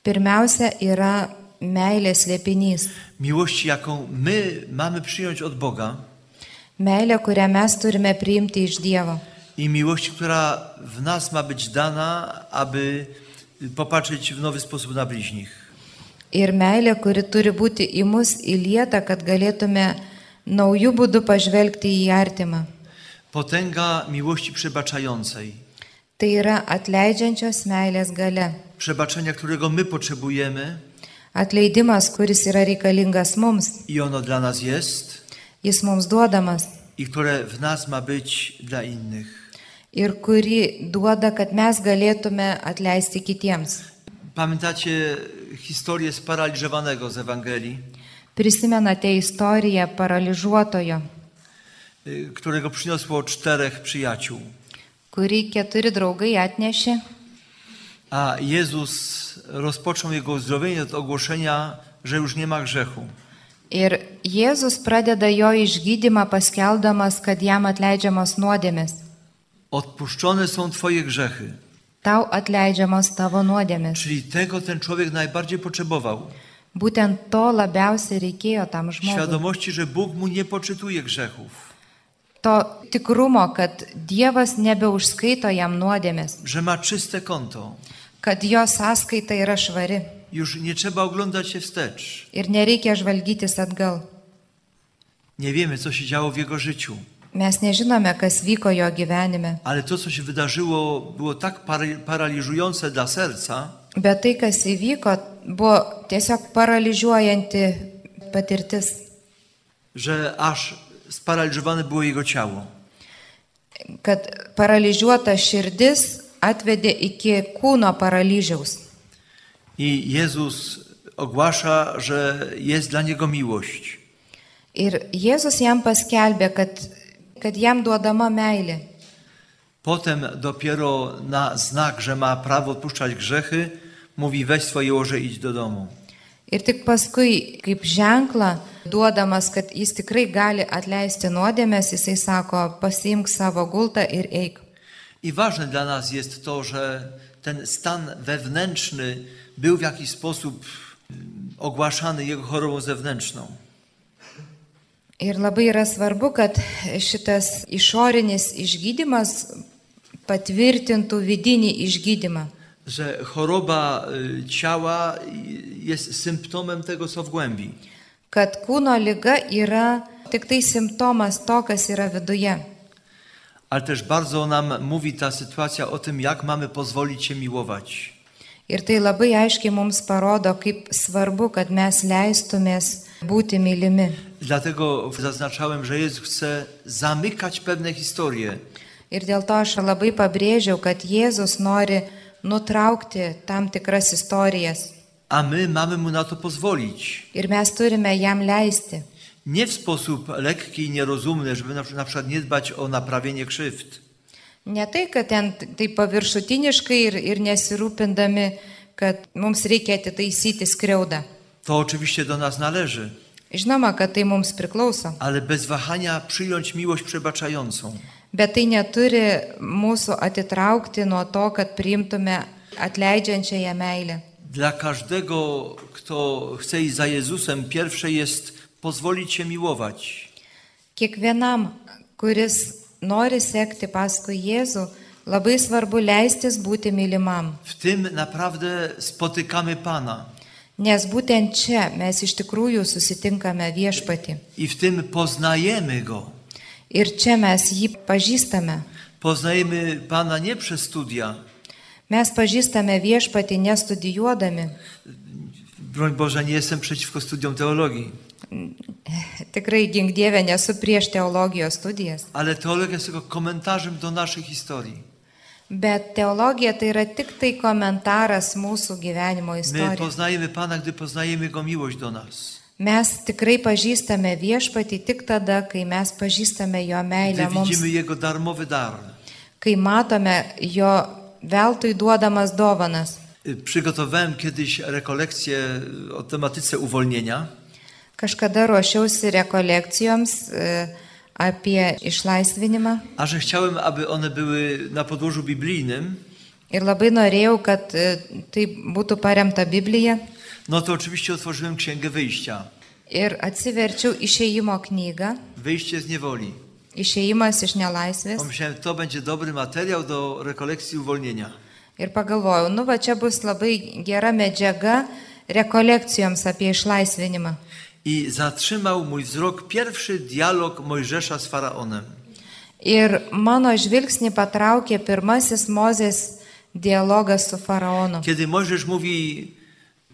Speaker 3: Pirmiausia yra meilės liepinys.
Speaker 2: Miłości, jaką my mamy przyjąć od Boga,
Speaker 3: Meilė, kurią mes turime priimti iš Dievo.
Speaker 2: i miłość, która w nas ma być dana, aby y, popatrzeć w nowy sposób na bliźnich.
Speaker 3: Ir meilė, kuri turi būti į mus įlieta, kad galėtume naujų būdų pažvelgti į artimą.
Speaker 2: Potęga miłości przebaczającej,
Speaker 3: Tai yra atleidžiančios meilės gale.
Speaker 2: przebaczenia, którego my potrzebujemy,
Speaker 3: Atleidimas, kuris yra reikalingas mums,
Speaker 2: i ono dla nas jest.
Speaker 3: jis mums duodamas.
Speaker 2: i które w nas ma być dla innych.
Speaker 3: ir kuri duoda, kad mes galėtume atleisti kitiems.
Speaker 2: Pamiętacie historię sparaliżowanego z Ewangelii,
Speaker 3: Prisimenate istoriją paralyžiuotojo,
Speaker 2: y, którego przyniosło czterech przyjaciół.
Speaker 3: kurį keturi draugai atnešė
Speaker 2: A Jezus rozpoczął jego uzdrowienie od ogłoszenia, że już nie ma grzechu.
Speaker 3: ir Jėzus pradeda jo išgydymą paskeldamas, kad jam atleidžiamos nuodėmis.
Speaker 2: Odpuszczone są Twoje grzechy.
Speaker 3: Tau atleidžiamos tavo nuodėmis.
Speaker 2: Czyli tego ten człowiek najbardziej potrzebował.
Speaker 3: Būtent to labiausiai reikėjo tam žmogui.
Speaker 2: Świadomości, że Bóg mu nie poczytuje grzechów,
Speaker 3: To tikrumo, kad Dievas nebeužskaito jam nuodėmis,
Speaker 2: że ma czyste konto.
Speaker 3: kad jo sąskaita yra švari
Speaker 2: Już nie trzeba oglądać się wstecz.
Speaker 3: ir nereikia žvalgytis atgal.
Speaker 2: Nie wiemy, co się działo w jego życiu,
Speaker 3: Mes nežinome, kas vyko jo gyvenime,
Speaker 2: ale to, co się wydarzyło, było tak pary- paraliżujące dla serca,
Speaker 3: bet tai, kas įvyko, buvo tiesiog paralyžiuojanti patirtis,
Speaker 2: że aż sparaliżowane było jego ciało.
Speaker 3: kad paralyžiuota širdis atvedė iki kūno paralyžiaus.
Speaker 2: I Jezus ogłasza, że jest dla niego miłość.
Speaker 3: Ir Jėzus jam paskelbė, kad, kad jam duodama meilė.
Speaker 2: Potem dopiero na znak, że ma prawo odpuszczać grzechy, mówi weź swoje łoże i idź do domu.
Speaker 3: Ir tik paskui, kaip ženklą, duodamas, kad jis tikrai gali atleisti nuodėmės, jisai sako, pasiimk savo gultą ir eik.
Speaker 2: I ważne dla nas jest to, że ten stan wewnętrzny był w jakiś sposób mm, ogłaszany jego chorobą zewnętrzną.
Speaker 3: Ir labai yra svarbu, kad šitas išorinis išgydymas patvirtintų vidinį išgydymą.
Speaker 2: Że choroba y, ciała y, jest symptomem tego, co w głębi.
Speaker 3: Kad kūno lyga yra tik tai simptomas to, kas yra viduje.
Speaker 2: Ale też bardzo nam mówi ta sytuacja o tym, jak mamy pozwolić się miłować.
Speaker 3: Ir tai labai aiškiai mums parodo, kaip svarbu, kad mes leistumės būti mylimi.
Speaker 2: Dlatego zaznaczałem, że Jezus chce zamykać pewne historie,
Speaker 3: Ir dėl to aš labai pabrėžiau, kad Jėzus nori nutraukti tam tikras istorijas.
Speaker 2: a my mamy mu na to pozwolić.
Speaker 3: Ir mes turime jam leisti.
Speaker 2: Nie w sposób lekki i nierozumny, żeby na na przykład nie dbać o naprawienie krzywd,
Speaker 3: Ne tai, kad ten t- taip paviršutiniškai ir, ir nesirūpindami, kad mums reikia atitaisyti skriaudą.
Speaker 2: to oczywiście do nas należy,
Speaker 3: Žinoma, kad tai mums priklauso,
Speaker 2: ale bez wahania przyjąć miłość przebaczającą.
Speaker 3: bet tai neturi mūsų atitraukti nuo to, kad priimtume atleidžiančiąją meilę.
Speaker 2: Dla każdego, kto chce iść za Jezusem, pierwsze jest pozwolić się miłować.
Speaker 3: Kiekvienam, kuris nori sekti paskui Jėzų, labai svarbu leistis būti mylimam,
Speaker 2: W tym naprawdę spotykamy Pana
Speaker 3: nes būtent čia mes iš tikrųjų susitinkame viešpati
Speaker 2: i w tym poznajemy Go.
Speaker 3: ir čia mes jį pažįstame.
Speaker 2: Poznajemy Pana nie przez studia.
Speaker 3: Mes pažįstame viešpatį nestudijuodami.
Speaker 2: Broń Boże, nie jestem przeciwko studiom teologii,
Speaker 3: Tikrai, gink Dieve, nesu prieš teologijos studijas.
Speaker 2: ale teologia jest tylko komentarzem do naszej historii.
Speaker 3: Bet teologija tai yra tik tai komentaras mūsų gyvenimo
Speaker 2: My
Speaker 3: istorijai.
Speaker 2: poznajemy Pana, gdy poznajemy Jego miłość do nas.
Speaker 3: Mes tikrai pažįstame viešpatį tik tada, kai mes pažįstame jo
Speaker 2: Gdy
Speaker 3: meilę mums,
Speaker 2: widzimy Jego darmowy dar.
Speaker 3: kai matome jo veltui duodamas dovanas.
Speaker 2: Y, Przygotowałem kiedyś rekolekcję o tematyce uwolnienia
Speaker 3: Kažkada ruošiausi rekolekcijoms e, apie išlaisvinimą
Speaker 2: A że chciałem, aby one były na podłożu biblijnym,
Speaker 3: ir labai norėjau, kad e, tai būtų paremta Biblija.
Speaker 2: no to oczywiście otworzyłem Księgę Wyjścia.
Speaker 3: Ir atsiverčiau išeimo knygą,
Speaker 2: Wyjście z niewoli.
Speaker 3: išeimas iš nelaisvės.
Speaker 2: Pomyślałem, to będzie dobry materiał do rekolekcji uwolnienia.
Speaker 3: Ir pagalvojau, nu va čia bus labai gera medžiaga rekolekcijoms apie išlaisvinimą.
Speaker 2: I zatrzymał mój wzrok pierwszy dialog Mojżesza z Faraonem.
Speaker 3: Ir mano žvilgsnį patraukė pirmasis Mozės dialogas su faraonu.
Speaker 2: Kiedy Mojżesz mówi,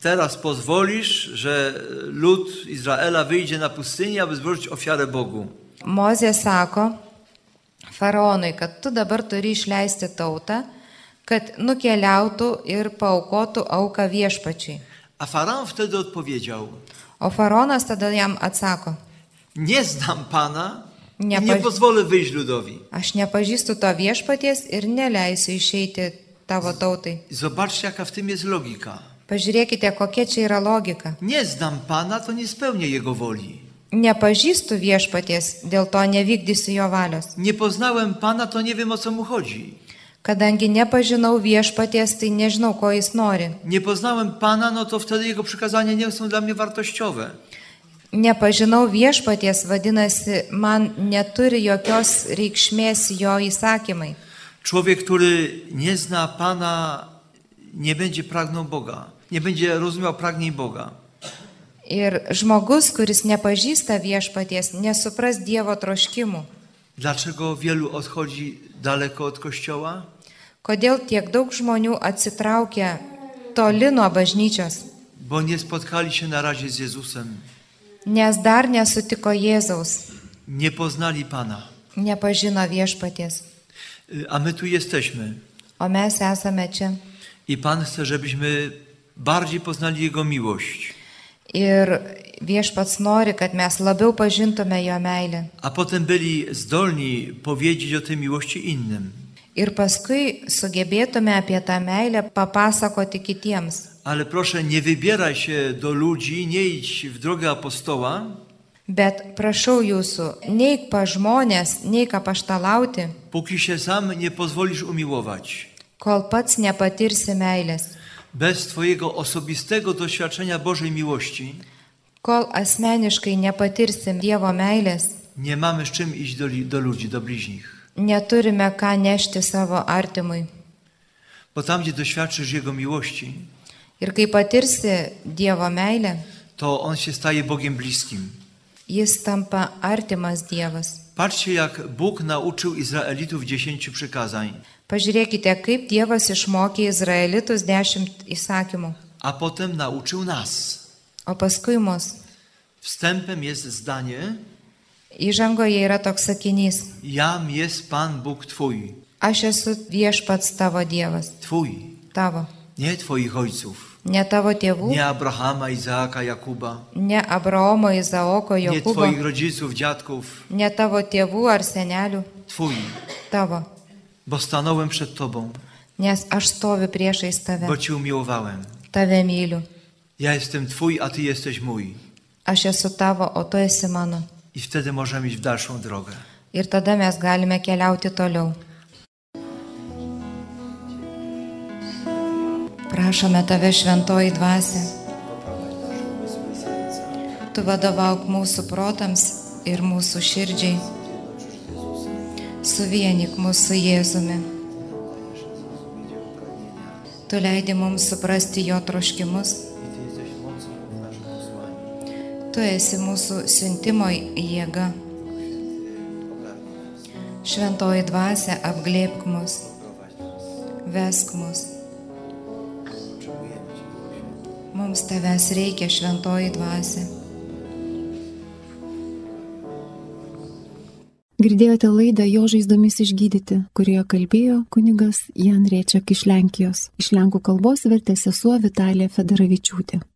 Speaker 2: teraz pozwolisz, że lud Izraela wyjdzie na pustynię, aby złożyć ofiarę Bogu.
Speaker 3: Mozė sako faraonui, kad tu dabar turi išleisti tautą, kad nukeliautų ir paukotų auką viešpačiui.
Speaker 2: A faraon wtedy odpowiedział:
Speaker 3: O faraonas tada jam atsako,
Speaker 2: Nie znam pana, i
Speaker 3: Nie
Speaker 2: nie
Speaker 3: poś-
Speaker 2: pozwolę wyjść ludowi.
Speaker 3: aš nepažįstu to viešpaties ir neleisiu išeiti tavo tautai.
Speaker 2: Zobaczcie, jaka w tym jest logika.
Speaker 3: Pažiūrėkite, kokia čia yra logika.
Speaker 2: Nie znam pana, to nie spełnię jego woli.
Speaker 3: Nepažįstu viešpaties, dėl to nevykdysiu jo valios.
Speaker 2: Nie poznałem pana, to nie wiem o co mu chodzi.
Speaker 3: Kadangi nepažinau viešpaties, tai nežinau, ko jis nori.
Speaker 2: Nie poznałem pana, no to wtedy jego przykazania nie są dla mnie wartościowe.
Speaker 3: Nepažinau viešpaties, vadinasi, man neturi jokios reikšmės jo įsakymai.
Speaker 2: Człowiek, który nie zna Pana, nie będzie pragnął Boga, nie będzie rozumiał pragnień Boga.
Speaker 3: Ir žmogus, kuris nepažįsta viešpaties, nesupras Dievo troškimų.
Speaker 2: Dlaczego wielu odchodzi daleko od Kościoła?
Speaker 3: Kodėl tiek daug žmonių atsitraukia toli nuo bažnyčios,
Speaker 2: Bo nie spotkali się na razie z Jezusem,
Speaker 3: nes dar nesutiko Jėzaus,
Speaker 2: nie poznali Pana.
Speaker 3: nepažino viešpaties.
Speaker 2: Y, A my tu jesteśmy
Speaker 3: O mes esame čia.
Speaker 2: i Pan chce, żebyśmy bardziej poznali Jego miłość,
Speaker 3: Ir viešpats nori, kad mes labiau pažintume jo meilę.
Speaker 2: a potem byli zdolni powiedzieć o tej miłości innym.
Speaker 3: Ir paskui sugebėtume apie tą meilę papasakoti kitiems.
Speaker 2: Ale proszę, nie wybieraj się do ludzi, nie idź w drogę apostoła,
Speaker 3: Bet prašau jūsų, neik pa žmonės, neik apaštalauti,
Speaker 2: Póki się sam nie pozwolisz umiłować,
Speaker 3: kol pats nepatirsi meilės,
Speaker 2: bez Twojego osobistego doświadczenia Bożej miłości,
Speaker 3: kol asmeniškai nepatirsim Dievo meilės,
Speaker 2: nie mamy z czym iść do, li- do ludzi, do bliźnich.
Speaker 3: neturime ką nešti savo artimui.
Speaker 2: Bo tam, gdzie doświadczysz Jego miłości,
Speaker 3: Ir kai patirsi Dievo meilę,
Speaker 2: to On się staje Bogiem bliskim.
Speaker 3: jis tampa artimas Dievas.
Speaker 2: Patrzcie, jak Bóg nauczył Izraelitów dziesięciu przykazań,
Speaker 3: Pažiūrėkite, kaip Dievas išmokė Izraelitus dešimt įsakymų,
Speaker 2: a potem nauczył nas.
Speaker 3: o paskui mus.
Speaker 2: Wstępem jest zdanie:
Speaker 3: Įžangoje yra toks sakinys.
Speaker 2: Jam jest Pan Bóg Twój.
Speaker 3: Aš esu viešpats tavo Dievas,
Speaker 2: Twój,
Speaker 3: tavo.
Speaker 2: nie Twoich ojców,
Speaker 3: Ne tavo tėvų,
Speaker 2: nie Abrahama, Izaaka, Jakuba,
Speaker 3: ne Abraomo, Izaoko,
Speaker 2: nie
Speaker 3: Jokūbo,
Speaker 2: Twoich rodziców, dziadków.
Speaker 3: ne tavo tėvų ar senelių,
Speaker 2: Twój,
Speaker 3: tavo.
Speaker 2: bo stanąłem przed Tobą,
Speaker 3: Nes aš stoviu priešais tave,
Speaker 2: bo Cię umiłowałem.
Speaker 3: tave myliu.
Speaker 2: Ja jestem Twój, a Ty jesteś mój.
Speaker 3: Aš esu tavo, o tu esi mano.
Speaker 2: I wtedy możemy iść w dalszą drogę.
Speaker 3: Ir tada mes galime keliauti toliau. Prašome tave šventoji dvasia. Tu vadovauk mūsų protams ir mūsų širdžiai. Suvienik mūsų Jėzumi. Tu leidi mums suprasti jo troškimus. Tu esi mūsų siuntimo jėga. Šventoji dvasia apglėbk mus, vesk mus. Mums tavęs reikia, šventoji dvasia.
Speaker 1: Girdėjote laidą Jo žaizdomis išgydyti, kurioje kalbėjo kunigas Jan Riečiak iš Lenkijos. Iš lenkų kalbos vertė sesuo Vitalija Federavičiūtė.